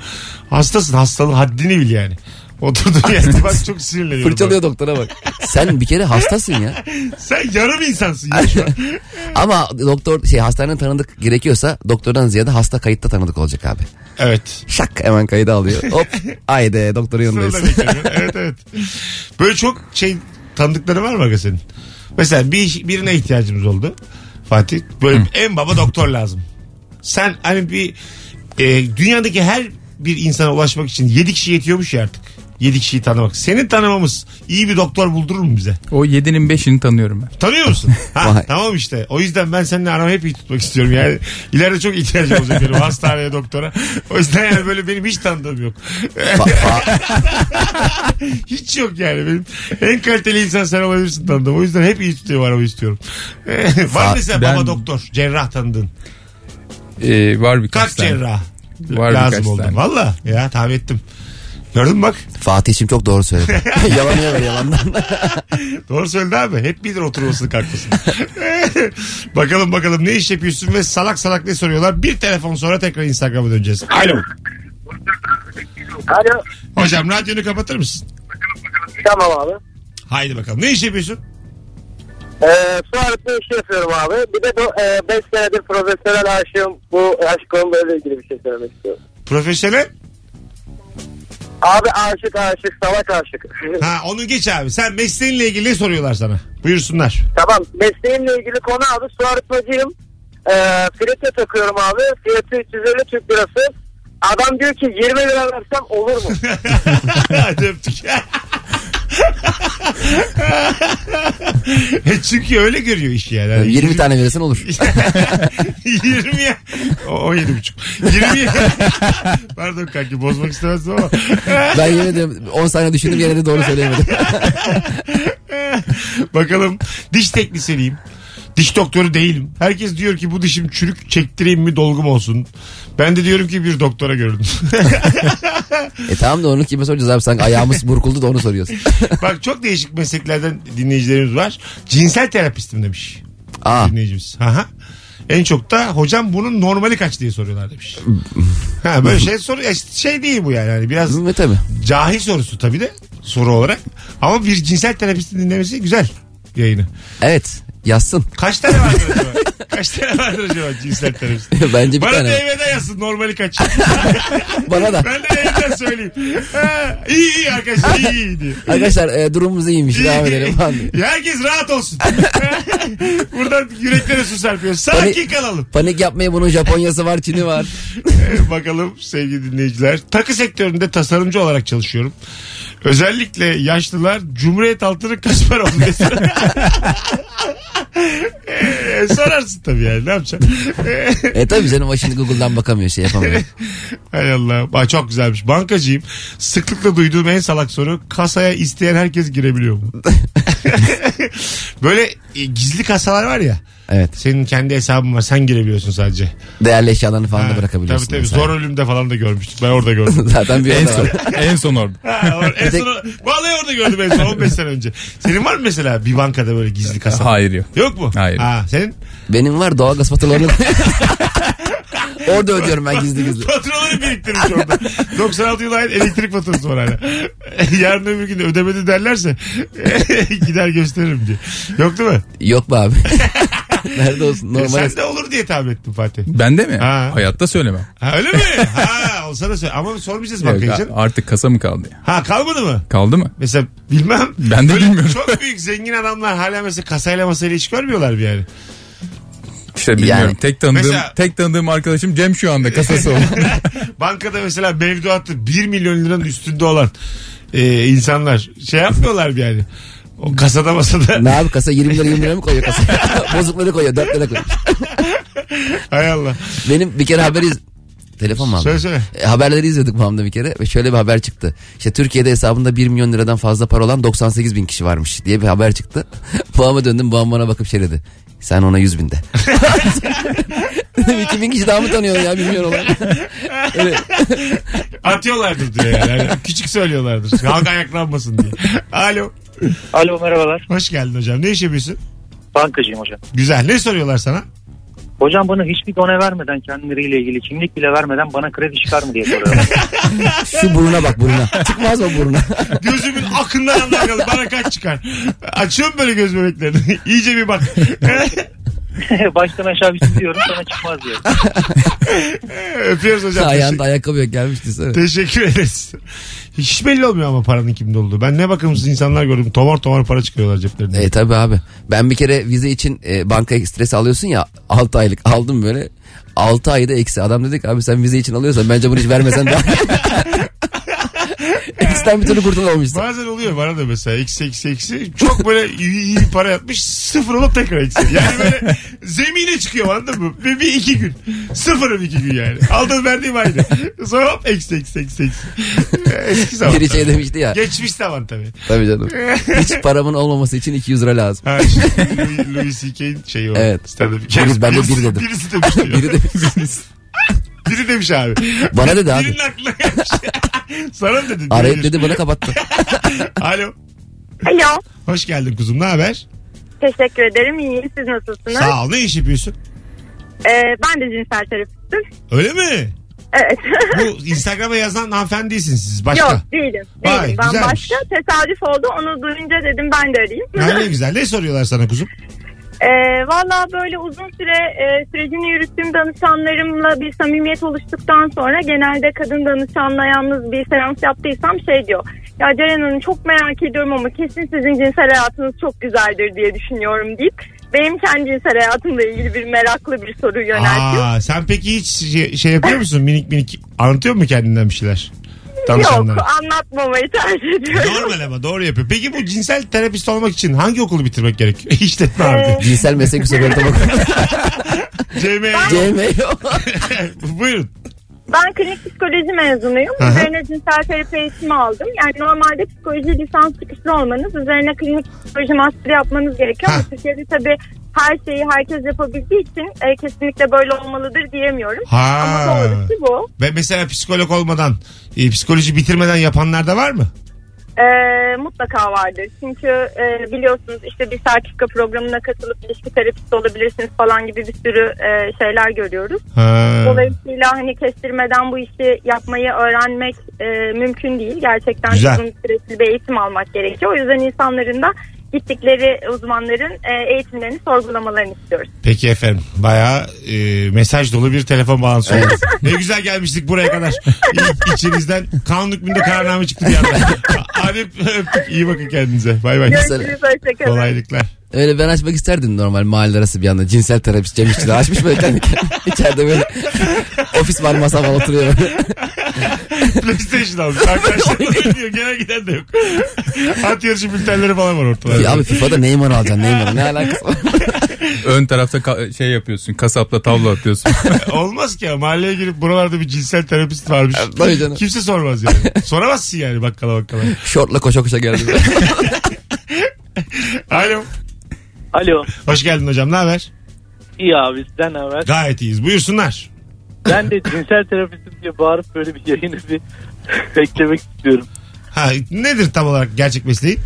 Hastasın. Hastalığın haddini bil yani. Oturduğun yerde bak çok sinirleniyorum.
Fırçalıyor doktora bak. Sen bir kere hastasın ya.
Sen yarım insansın ya şu an.
Ama doktor şey hastanenin tanıdık gerekiyorsa doktordan ziyade hasta kayıtta tanıdık olacak abi.
evet.
Şak hemen kaydı alıyor. Hop. Haydi doktorun yanındayız.
Sırada bekliyorum. evet evet. Böyle çok şey tanıdıkları var mı aga senin? Mesela bir iş- birine ihtiyacımız oldu. Fatih. Böyle en baba doktor lazım. Sen hani bir e, dünyadaki her bir insana ulaşmak için 7 kişi yetiyormuş ya artık. 7 kişiyi tanımak. Senin tanımamız iyi bir doktor buldurur mu bize?
O 7'nin 5'ini tanıyorum ben.
Tanıyor musun? Ha,
Vay.
tamam işte. O yüzden ben seninle aramı hep iyi tutmak istiyorum. Yani ileride çok ihtiyacım olacak benim hastaneye, doktora. O yüzden yani böyle benim hiç tanıdığım yok. hiç yok yani benim. En kaliteli insan sen olabilirsin tanıdığım. O yüzden hep iyi tutuyorum aramı istiyorum. Var mı mesela baba
Ben-
doktor, cerrah tanıdın.
Ee, var birkaç
Kalp
tane.
cerrah.
Var
lazım
birkaç
oldum.
tane.
Valla ya tahmin ettim. Gördün mü bak?
Fatih'im çok doğru söyledi. Yalanıyor böyle yalandan.
Doğru söyledi abi. Hep bilir oturmasını kalkmasını. bakalım bakalım ne iş yapıyorsun ve salak salak ne soruyorlar. Bir telefon sonra tekrar Instagram'a döneceğiz. Alo.
Alo.
Hocam radyonu kapatır mısın?
Tamam abi.
Haydi bakalım. Ne iş yapıyorsun?
Ee, su arıtma işi yapıyorum abi. Bir de bu 5 senedir profesyonel aşığım. Bu aşk konuyla ilgili bir şey söylemek istiyorum.
Profesyonel?
Abi aşık aşık salak aşık.
Ha onu geç abi. Sen mesleğinle ilgili soruyorlar sana. Buyursunlar.
tamam mesleğimle ilgili konu abi su arıtmacıyım. Ee, filete takıyorum abi. Fiyatı 350 Türk lirası. Adam diyor ki 20 lira versem olur mu?
Hadi öptük. E, Çünkü öyle görüyor iş yani. Hani
20 tane verirsen olur.
20 ya. O- 17 buçuk. 20 ya. Pardon kanki bozmak istemezdim ama.
Ben yemin ederim 10 saniye düşündüm yine de doğru söyleyemedim.
Bakalım diş teknisyeniyim. Diş doktoru değilim. Herkes diyor ki bu dişim çürük çektireyim mi dolgum olsun. Ben de diyorum ki bir doktora gördüm.
e tamam da onu kime soracağız abi sanki ayağımız burkuldu da onu soruyorsun.
Bak çok değişik mesleklerden dinleyicilerimiz var. Cinsel terapistim demiş
Aa
dinleyicimiz. Aha. En çok da hocam bunun normali kaç diye soruyorlar demiş. ha, böyle şey soru ya işte şey değil bu yani. Hani biraz
ve tabii.
cahil sorusu tabii de soru olarak. Ama bir cinsel terapistin dinlemesi güzel yayını.
Evet yazsın.
Kaç tane vardır acaba? kaç tane vardır acaba cinsel terapist?
Bence bir
Bana
tane.
DM'den yazsın normali kaç.
Bana da.
ben de evden söyleyeyim. Ha, iyi iyi arkadaşlar iyi iyi diye.
Arkadaşlar e, durumumuz iyiymiş devam edelim falan diye.
Herkes rahat olsun. Buradan yüreklere su serpiyoruz. Sakin
Hani-
kalalım.
Panik yapmaya bunun Japonya'sı var Çin'i var.
Ee, Bakalım sevgili dinleyiciler. Takı sektöründe tasarımcı olarak çalışıyorum. Özellikle yaşlılar Cumhuriyet altını Kasparov desin. Ee, sorarsın tabii yani ne yapacaksın? Ee,
E tabii canım o şimdi Google'dan bakamıyor şey yapamıyor.
Hay Allah. Bak çok güzelmiş. Bankacıyım. Sıklıkla duyduğum en salak soru kasaya isteyen herkes girebiliyor mu? Böyle e, gizli kasalar var ya.
Evet
Senin kendi hesabın var. Sen girebiliyorsun sadece.
değerli eşyalarını falan da bırakabiliyorsun.
Tabii tabii.
mesela.
Zor ölümde falan da görmüştük. Ben orada gördüm.
Zaten bir
En
orada
son,
var.
en son orada.
Ha, or- en son, vallahi orada gördüm en son 15 sene önce. Senin var mı mesela bir bankada böyle gizli kasa?
Hayır yok.
Yok mu?
Hayır.
Ha, senin
Benim var doğalgaz faturalarını. orada ödüyorum ben gizli gizli.
faturaları biriktirmiş orada. 96 yıla ait elektrik faturası var hala. Yarın öbür gün ödemedi derlerse gider gösteririm diye. Yok değil mi?
Yok be abi. Nerede olsun
E,
normal.
sen de olur diye tahmin ettim Fatih.
Bende mi?
Ha.
Hayatta söylemem.
Ha, öyle mi? Ha, olsa da söyle. Ama sormayacağız
Yok,
bankayı canım.
artık kasa mı kaldı ya?
Ha kalmadı mı?
Kaldı mı?
Mesela bilmem.
Ben de
Böyle
bilmiyorum.
Çok büyük zengin adamlar hala mesela kasayla masayla iş görmüyorlar bir yani.
İşte bilmiyorum.
Yani-
tek tanıdığım
Mesela-
tek tanıdığım arkadaşım Cem şu anda kasası olan.
Bankada mesela mevduatı 1 milyon liranın üstünde olan e, insanlar şey yapmıyorlar bir yani. O kasada masada.
Ne abi kasa 20 lira 20 lira mı koyuyor kasa? Bozukları koyuyor 4 lira koyuyor.
Hay Allah.
Benim bir kere haberi iz- Telefon mu abi?
Söyle söyle.
E, haberleri izledik Mamda bir kere ve şöyle bir haber çıktı. İşte Türkiye'de hesabında 1 milyon liradan fazla para olan 98 bin kişi varmış diye bir haber çıktı. Babama döndüm babam bana bakıp şey dedi. Sen ona 100 bin de. Dedim 2 bin kişi daha mı tanıyor ya 1 milyon olan?
Atıyorlardır diyor yani. Yani Küçük söylüyorlardır. Halk ayaklanmasın diye. Alo.
Alo merhabalar.
Hoş geldin hocam. Ne iş yapıyorsun?
Bankacıyım hocam.
Güzel. Ne soruyorlar sana?
Hocam bana hiçbir done vermeden kendileriyle ilgili kimlik bile vermeden bana kredi çıkar mı diye soruyorlar.
Şu buruna bak buruna. Çıkmaz mı buruna?
Gözümün akından anlakalı. Bana kaç çıkar? Açıyorum böyle göz bebeklerini. İyice bir bak.
Baştan aşağı bir şey diyorum sana çıkmaz diyor.
Öpüyoruz hocam.
Ayağında ayakkabı yok gelmiş desene.
Teşekkür ederiz. Hiç belli olmuyor ama paranın kimde olduğu. Ben ne bakımsız insanlar gördüm. Tomar tomar para çıkıyorlar ceplerinden.
E tabi abi. Ben bir kere vize için e, banka ekstresi alıyorsun ya 6 aylık aldım böyle. 6 ayda eksi. Adam dedi ki abi sen vize için alıyorsan bence bunu hiç vermesen daha. Eksten bir türlü kurtulamamışsın.
Bazen oluyor bana da mesela eksi eksi eksi çok böyle iyi, iyi bir para yapmış sıfır olup tekrar eksi. Yani böyle zemine çıkıyor anladın mı? Bir, bir iki gün sıfırım iki gün yani. Aldığım verdiğim aynı. Sonra hop eksi eksi eksi eksi. Eski zaman.
Biri şey
tabii.
demişti ya.
Geçmiş zaman tabii.
Tabii canım. Hiç paramın olmaması için 200 lira lazım.
Ha, işte Louis, Louis C.K.'in şeyi o.
Evet.
Stand-up
Biri- ben de biri dedim.
Birisi demiş diyor.
Biri de
Biri demiş abi.
Bana dedi abi.
Birinin aklına gelmiş. Sana mı dedin?
arayıp dedi bana kapattı.
Alo.
Alo.
Hoş geldin kuzum. Ne haber?
Teşekkür ederim. İyiyim. Siz nasılsınız?
Sağ ol. Ne iş yapıyorsun?
Ee, ben de cinsel terapistim.
Öyle mi?
Evet.
Bu Instagram'a yazan hanımefendiysiniz siz. Başka.
Yok değilim.
Vay,
değilim. Ben
güzelmiş.
başka. Tesadüf oldu. Onu duyunca dedim ben de arayayım.
Ha, ne güzel. Ne soruyorlar sana kuzum?
E, Valla böyle uzun süre e, sürecini yürüttüğüm danışanlarımla bir samimiyet oluştuktan sonra genelde kadın danışanla yalnız bir seans yaptıysam şey diyor. Ya Ceren Hanım çok merak ediyorum ama kesin sizin cinsel hayatınız çok güzeldir diye düşünüyorum deyip benim kendi cinsel hayatımla ilgili bir meraklı bir soru yöneltiyor.
Aa, sen peki hiç şey, şey yapıyor musun? Minik minik anlatıyor mu kendinden bir şeyler?
Yok
Danışanlara.
anlatmamayı tercih ediyorum.
Normal ama doğru yapıyor. Peki bu cinsel terapist olmak için hangi okulu bitirmek gerekiyor? İşletme
Ee,
abi.
Cinsel meslek yüksek öğretim okulu.
CME.
CMO.
Buyurun.
Ben klinik psikoloji mezunuyum.
Aha.
Üzerine cinsel terapi eğitimi aldım. Yani normalde psikoloji lisans çıkışlı olmanız, üzerine klinik psikoloji master yapmanız gerekiyor. Ama
Ha.
Türkiye'de tabii her şeyi herkes yapabildiği için e, kesinlikle böyle olmalıdır diyemiyorum.
Ha.
Ama doğrusu bu.
Ve mesela psikolog olmadan, e, psikoloji bitirmeden yapanlar da var mı?
E, mutlaka vardır. Çünkü e, biliyorsunuz işte bir sertifika programına katılıp ilişki terapisti olabilirsiniz falan gibi bir sürü e, şeyler görüyoruz.
Ha.
Dolayısıyla hani kestirmeden bu işi yapmayı öğrenmek e, mümkün değil. Gerçekten
Güzel.
uzun süreli bir eğitim almak gerekiyor. O yüzden insanların da gittikleri uzmanların e, eğitimlerini sorgulamalarını istiyoruz.
Peki efendim. Bayağı e, mesaj dolu bir telefon bağlantısı oldu. ne güzel gelmiştik buraya kadar. İ, içinizden kanun hükmünde kararname çıktı bir anda. Hadi öptük. İyi bakın kendinize. Bay bay.
Görüşürüz. Hoşçakalın.
Kolaylıklar.
Öyle ben açmak isterdim normal mahalle arası bir anda. Cinsel terapist Cem İşçiler açmış böyle kendi kendine. İçeride böyle ofis var masa var oturuyor böyle.
PlayStation almış. Arkadaşlar ne diyor? Gene giden de yok. At yarışı bültenleri falan var ortalarda.
Ya abi FIFA'da Neymar alacaksın Neymar. Ne alakası var?
Ön tarafta ka- şey yapıyorsun kasapla tavla atıyorsun.
Olmaz ki ya. Mahalleye girip buralarda bir cinsel terapist varmış.
Tabii canım.
Kimse sormaz yani. Soramazsın yani bakkala bakkala.
Şortla koşa koşa geldi.
Alo.
Alo.
Hoş geldin hocam. Ne haber?
İyi abi sizden ne haber?
Gayet iyiyiz. Buyursunlar.
Ben de cinsel terapistim diye bağırıp böyle bir yayını bir beklemek istiyorum.
Ha, nedir tam olarak gerçek mesleğin?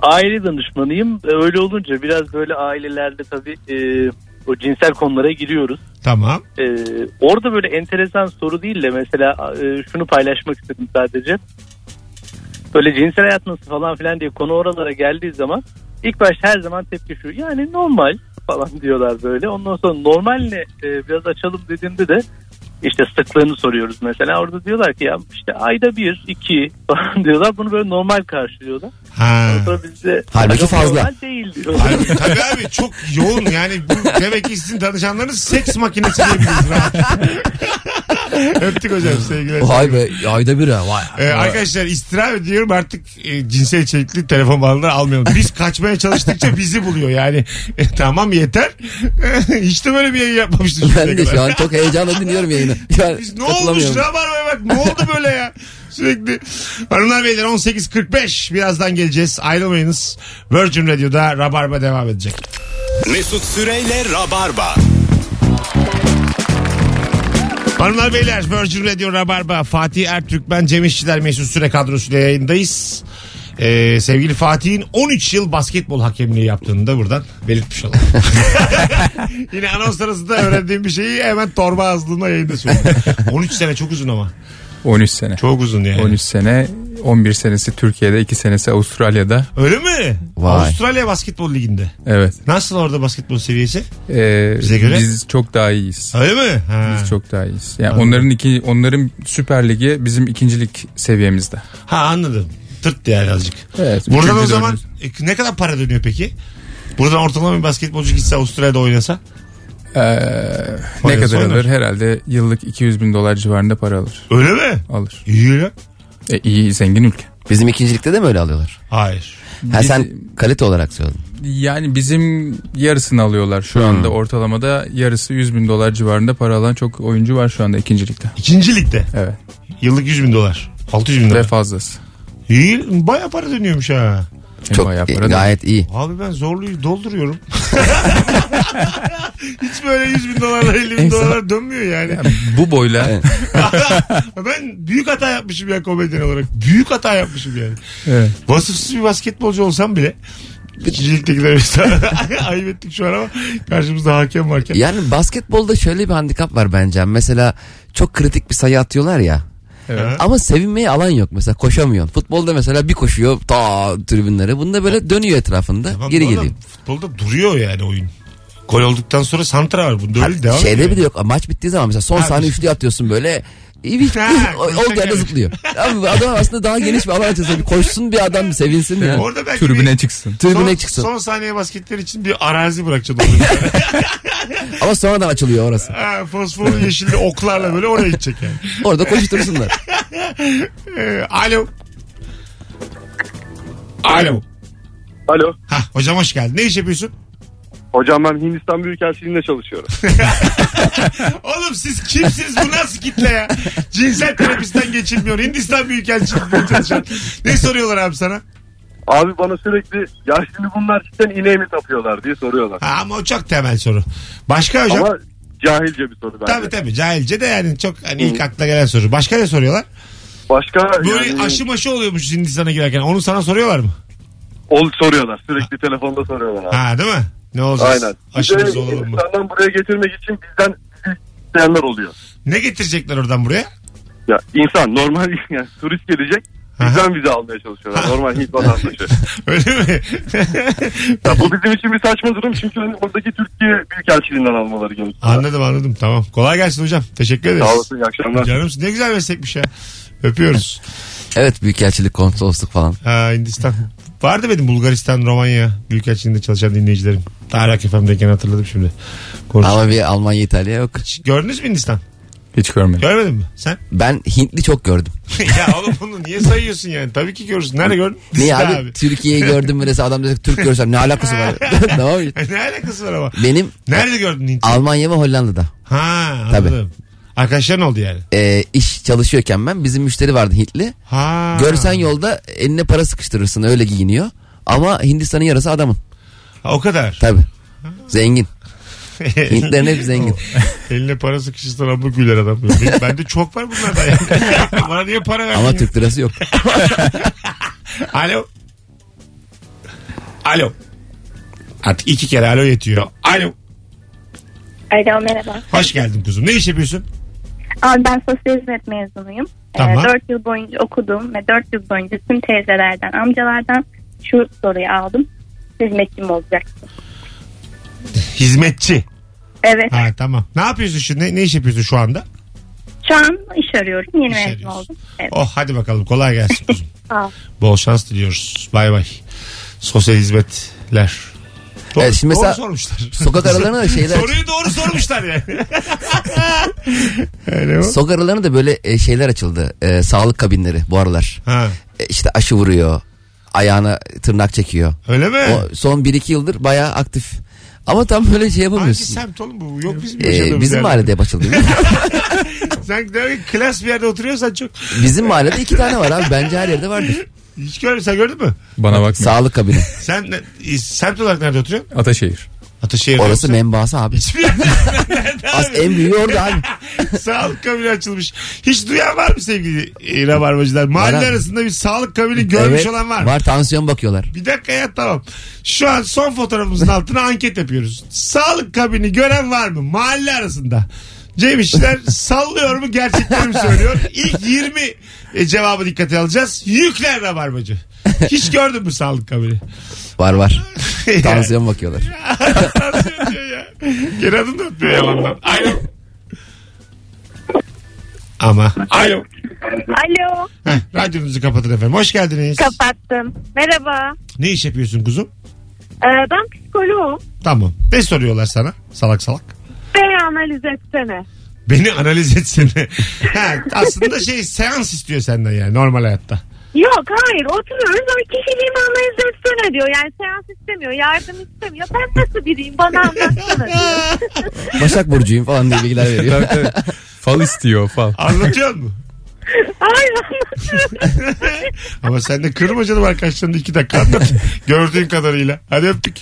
Aile danışmanıyım. E, Öyle olunca biraz böyle ailelerde tabii e, o cinsel konulara giriyoruz.
Tamam.
E, orada böyle enteresan soru değil de mesela e, şunu paylaşmak istedim sadece. Böyle cinsel hayat nasıl falan filan diye konu oralara geldiği zaman ilk başta her zaman tepki şu. Yani normal falan diyorlar böyle. Ondan sonra normal ne e, biraz açalım dediğimde de işte sıklığını soruyoruz mesela. Orada diyorlar ki ya işte ayda bir, iki falan diyorlar. Bunu böyle normal karşılıyorlar.
Ha.
Sonra bizde
Halbuki fazla.
normal değil diyor.
Abi, tabii abi çok yoğun yani bu, demek ki sizin danışanlarınız seks makinesi diyebiliriz rahat. Öptük hocam sevgiler.
Vay be ayda bir ha vay.
Ee, arkadaşlar istirham ediyorum artık e, cinsel içerikli telefon bağlantıları almayalım. Biz kaçmaya çalıştıkça bizi buluyor yani. E, tamam yeter. E, Hiç de böyle bir yayın yapmamıştım. şimdiye
Ben de şu
kadar.
an çok heyecanla dinliyorum yayını. Şu an
Biz ne olmuş
katılamıyorum.
Rabarba'ya bak ne oldu böyle ya? Sürekli. Hanımlar beyler 18.45 birazdan geleceğiz. Ayrılmayınız. Virgin Radio'da Rabarba devam edecek.
Mesut Süreyle Rabarba.
Hanımlar beyler Virgin Radio Rabarba Fatih Ertürk ben Cem İşçiler Mesut Süre kadrosuyla yayındayız. Ee, sevgili Fatih'in 13 yıl basketbol hakemliği yaptığını da buradan belirtmiş olalım. Yine anons arasında öğrendiğim bir şeyi hemen torba azlığına yayında söyledim. 13 sene çok uzun ama.
13 sene.
Çok uzun yani.
13 sene 11 senesi Türkiye'de 2 senesi Avustralya'da.
Öyle mi?
Vay.
Avustralya basketbol liginde.
Evet.
Nasıl orada basketbol seviyesi?
Ee,
Bize göre?
Biz çok daha iyiyiz.
Öyle mi? Ha.
Biz çok daha iyiyiz. Yani onların iki, onların Süper Ligi bizim ikincilik seviyemizde.
ha anladım. Tırt yani azıcık.
Evet.
Buradan
üçüncü,
o zaman
dördüncü.
e, ne kadar para dönüyor peki? Buradan ortalama bir basketbolcu gitse Avustralya'da oynasa?
Ee, ne
Bayağı
kadar
sonra.
alır? Herhalde yıllık 200 bin dolar civarında para alır.
Öyle mi?
Alır.
İyi lan.
E, iyi zengin ülke.
Bizim ikincilikte de mi öyle alıyorlar?
Hayır.
Ha
Biz-
sen kalite olarak söyledin.
Yani bizim yarısını alıyorlar
Hmm.
şu anda ortalamada yarısı 100 bin dolar civarında para alan çok oyuncu var şu anda ikincilikte.
İkinci ligde.
Evet.
Yıllık 100 bin dolar. 600 bin
Ve
dolar.
fazlası.
İyi. Baya para dönüyormuş ha.
Hem
Çok
bayağı
e,
para da-
gayet iyi.
Abi ben zorluyu dolduruyorum. Hiç böyle 100 bin dolarla 50 bin
En
dolarlar dönmüyor yani.
Bu boyla.
ben büyük hata yapmışım ya komedyen olarak. Büyük hata yapmışım yani.
evet.
Vasıfsız bir basketbolcu olsam bile Kişiliktekiler biz ayıp ettik şu an ama karşımızda hakem varken.
Yani basketbolda şöyle bir handikap var bence. Mesela çok kritik bir sayı atıyorlar ya.
Evet.
Ama sevinmeye alan yok mesela koşamıyorsun. Futbolda mesela bir koşuyor ta tribünlere. Bunda böyle dönüyor etrafında.
Tamam,
geri
bu adam
geliyor.
Futbolda duruyor yani oyun. Gol olduktan sonra santra var. Bunda öyle devam
Şeyde
ediyor.
bile yok. Maç bittiği zaman mesela son
Abi.
saniye üçlü atıyorsun böyle. İyi
Ha,
oldu yerde
koşarken.
zıplıyor. Abi bu adam aslında daha geniş bir alan açılsa bir koşsun bir adam bir sevinsin ya.
Orada belki
Türbüne
bir-
çıksın.
Tribüne
son,
çıksın.
Son saniye basketler için bir arazi bırakacaksın. oraya.
Ama sonradan açılıyor orası.
ha, fosforlu yeşilli oklarla böyle oraya gidecek yani.
Orada koştursunlar.
Ee, alo. Alo.
Alo.
Ha, hocam hoş geldin. Ne iş yapıyorsun?
Hocam ben Hindistan Büyükelçiliğinde çalışıyorum.
Oğlum siz kimsiniz? Bu nasıl kitle ya? Cinsel terapisten geçilmiyor. Hindistan Büyükelçiliği'nde çalışan. Ne soruyorlar abi sana?
Abi bana sürekli ya şimdi bunlar cidden ineğe mi tapıyorlar diye soruyorlar.
Ha, ama o çok temel soru. Başka hocam?
Ama cahilce bir soru bence.
Tabii tabii cahilce de yani çok hani ilk akla gelen soru. Başka ne soruyorlar?
Başka
Böyle
yani,
aşı maşı oluyormuş Hindistan'a girerken. Onu sana soruyorlar mı?
ol soruyorlar. Sürekli telefonda soruyorlar abi.
Ha değil mi? Ne olacağız?
Aynen. Bir de
Aşımız olalım mı?
Hindistan'dan buraya getirmek için bizden bizi isteyenler oluyor.
Ne getirecekler oradan buraya?
Ya insan normal yani turist gelecek bizden vize almaya çalışıyorlar. Normal Hint vatandaşı.
Öyle mi?
ya bu bizim için bir saçma durum çünkü hani buradaki Türkiye Büyükelçiliğinden almaları gerekiyor.
anladım anladım tamam. Kolay gelsin hocam. Teşekkür ederiz.
Sağ olasın iyi akşamlar.
Canımsın ne güzel meslekmiş ya. Öpüyoruz.
evet büyükelçilik konsolosluk falan.
Ha, Hindistan. Vardı benim Bulgaristan, Romanya Büyükelçiliğinde çalışan dinleyicilerim. Tarak FM'deyken hatırladım şimdi. Konuştuk.
Ama bir Almanya İtalya yok.
Gördünüz mü Hindistan?
Hiç görmedim.
Görmedin mi? Sen?
Ben Hintli çok gördüm.
ya oğlum bunu niye sayıyorsun yani? Tabii ki görürsün. Nerede gördün?
Niye
Dizide
abi, Türkiye'yi gördüm mesela adam dedi Türk görsem ne alakası var? tamam mı?
ne alakası var ama?
Benim
Nerede gördün Hint'i?
Almanya ve Hollanda'da
Ha anladım. Arkadaşların oldu yani.
e, iş çalışıyorken ben bizim müşteri vardı Hintli.
Ha.
Görsen yolda eline para sıkıştırırsın öyle giyiniyor. Ama Hindistan'ın yarısı adamın
Ha, o kadar.
tabi. Zengin. Hintlerin hep zengin.
Eline para sıkışırsan abla güler adam. Benim- Bende çok var bunlardan. Yani. Bana niye para verdin?
Ama
ya?
Türk lirası yok.
Alo. Alo. Artık iki kere alo yetiyor. Alo.
Alo merhaba.
Hoş geldin kuzum. Ne iş yapıyorsun?
Abi ben sosyal hizmet mezunuyum.
Tamam.
4 yıl boyunca okudum ve 4 yıl boyunca tüm teyzelerden, amcalardan şu soruyu aldım. Hizmetçim olacak.
Hizmetçi.
Evet.
Ha tamam. Ne yapıyorsun şimdi? Ne, ne iş yapıyorsun şu anda?
Şu an iş arıyorum. Yeni
İş
mezun
arıyorsun.
oldum. Evet.
Oh hadi bakalım. Kolay gelsin kuzum.
Sağ ol.
Bol şans diliyoruz. Bay bay. Sosyal hizmetler. Doğru,
Evet, şimdi mesela
doğru sormuşlar.
Sokak aralarına da şeyler
Soruyu doğru sormuşlar yani. Öyle mi?
Sokak aralarına da böyle e, şeyler açıldı. E, sağlık kabinleri bu aralar.
Ha,
E, işte aşı vuruyor. Ayağına tırnak çekiyor.
öyle mi?
O son 1-2 yıldır bayağı aktif. Ama tam böyle şey
Hangi
yapamıyorsun.
semt oğlum bu? Yok bizim
E,
yaşadığımız
bizim
yerde.
mahallede hep açıldı.
Sen demek ki klas bir yerde oturuyorsan çok.
bizim mahallede iki tane var abi. Bence her yerde vardır.
Hiç görmedim. Sen gördün mü?
Bana bakma.
Sağlık kabini.
Sen ne- e, semt olarak nerede oturuyorsun?
Ataşehir.
Ataşehir'de.
Orası menbaası abi.
Hiçbir yerde.
As en büyüğü orada abi.
sağlık kabini açılmış. Hiç duyan var mı sevgili e, rabarbacılar? Mahalle
Var abi.
arasında bir sağlık kabini görmüş
Evet,
olan var mı?
Var tansiyon bakıyorlar.
Bir dakika ya tamam. Şu an son fotoğrafımızın altına anket yapıyoruz. Sağlık kabini gören var mı? Mahalle arasında. Cem İşçiler sallıyor mu gerçekleri mi söylüyor? İlk 20 e, cevabı dikkate alacağız. Yükler rabarbacı. Hiç gördün mü sağlık kabini?
Var var. Tansiyon bakıyorlar.
Tansiyon diyor ya. Geri adım da atmıyor yalandan. Alo. Ama. Alo.
Alo.
Heh, radyonuzu kapatın efendim. Hoş geldiniz.
Kapattım. Merhaba.
ne iş yapıyorsun kuzum?
Ee, ben psikoloğum.
Tamam. Ne soruyorlar sana? Salak salak.
Beni analiz etsene.
Beni analiz etsene. ha, aslında şey seans istiyor senden yani normal hayatta.
Yok hayır oturuyoruz ama kişiliğimi analiz etsene diyor. Yani seans istemiyor, yardım istemiyor. Ben nasıl biriyim bana anlatsana diyor.
Başak Burcu'yum falan diye bilgiler veriyor.
Tabii, tabii. fal istiyor fal.
Anlatıyor mu?
Hayır anlatıyorum.
Ama sen de kırma canım arkadaşlarını iki dakika anlat. Gördüğün kadarıyla. Hadi öptük.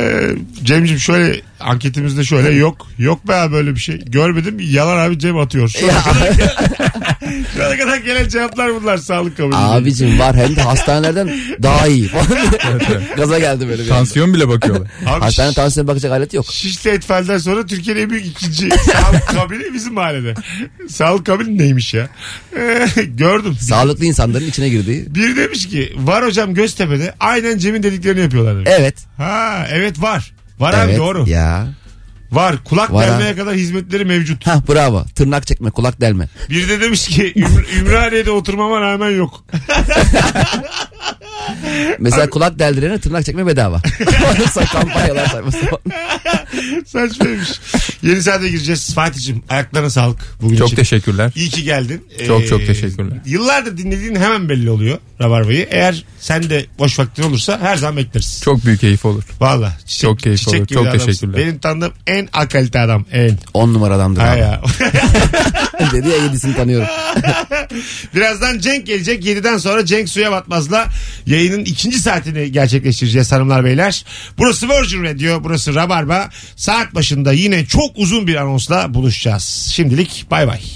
Ee, Cem'ciğim şöyle anketimizde şöyle yok. Yok be abi böyle bir şey. Görmedim yalan abi Cem atıyor. Şu ana kadar, Şu ana kadar gelen cevaplar bunlar sağlık kabul edildi.
Abicim var hem de hastanelerden daha iyi. Gaza geldi böyle bir. anda.
Tansiyon bile bakıyorlar.
Abi
Hastane tansiyona bakacak alet yok.
Şişli Etfel'den sonra Türkiye'nin en büyük ikinci sağlık kabini bizim mahallede. Sağlık kabini neymiş ya? Ee, gördüm.
Sağlıklı insanların içine girdiği.
Biri demiş ki var hocam Göztepe'de aynen Cem'in dediklerini yapıyorlar demiş.
E-
Evet.
Ha evet var. Var abi
evet.
doğru.
Ya.
Var. Kulak
Var
delmeye
abi.
kadar hizmetleri mevcut.
Ha bravo. Tırnak çekme, kulak delme.
Biri de demiş ki Ümr- Ümraniye'de oturmama rağmen yok.
Mesela kulak deldirene tırnak çekme bedava. Oysa kampanyalar sayfası.
Saçmaymış. Yeni saate gireceğiz. Fatih'cim ayaklarına sağlık bugün
Çok
için.
teşekkürler.
İyi ki geldin. Ee,
Çok çok teşekkürler.
Yıllardır dinlediğin hemen belli oluyor Rabarba'yı. Eğer sen de boş vaktin olursa her zaman bekleriz.
Çok büyük keyif olur.
Valla. Çiçek,
Çok keyif
çiçek
olur.
gibi
Çok
bir adamsın.
teşekkürler.
Benim tanıdığım en akalite adam. En.
On numaradandır
Ha
abi.
ya.
Dedi ya yedisini tanıyorum.
Birazdan Cenk gelecek. 7'den sonra Cenk Suya Batmaz'la yayının ikinci saatini gerçekleştireceğiz hanımlar beyler. Burası Virgin Radio, burası Rabarba. Saat başında yine çok uzun bir anonsla buluşacağız. Şimdilik bay bay.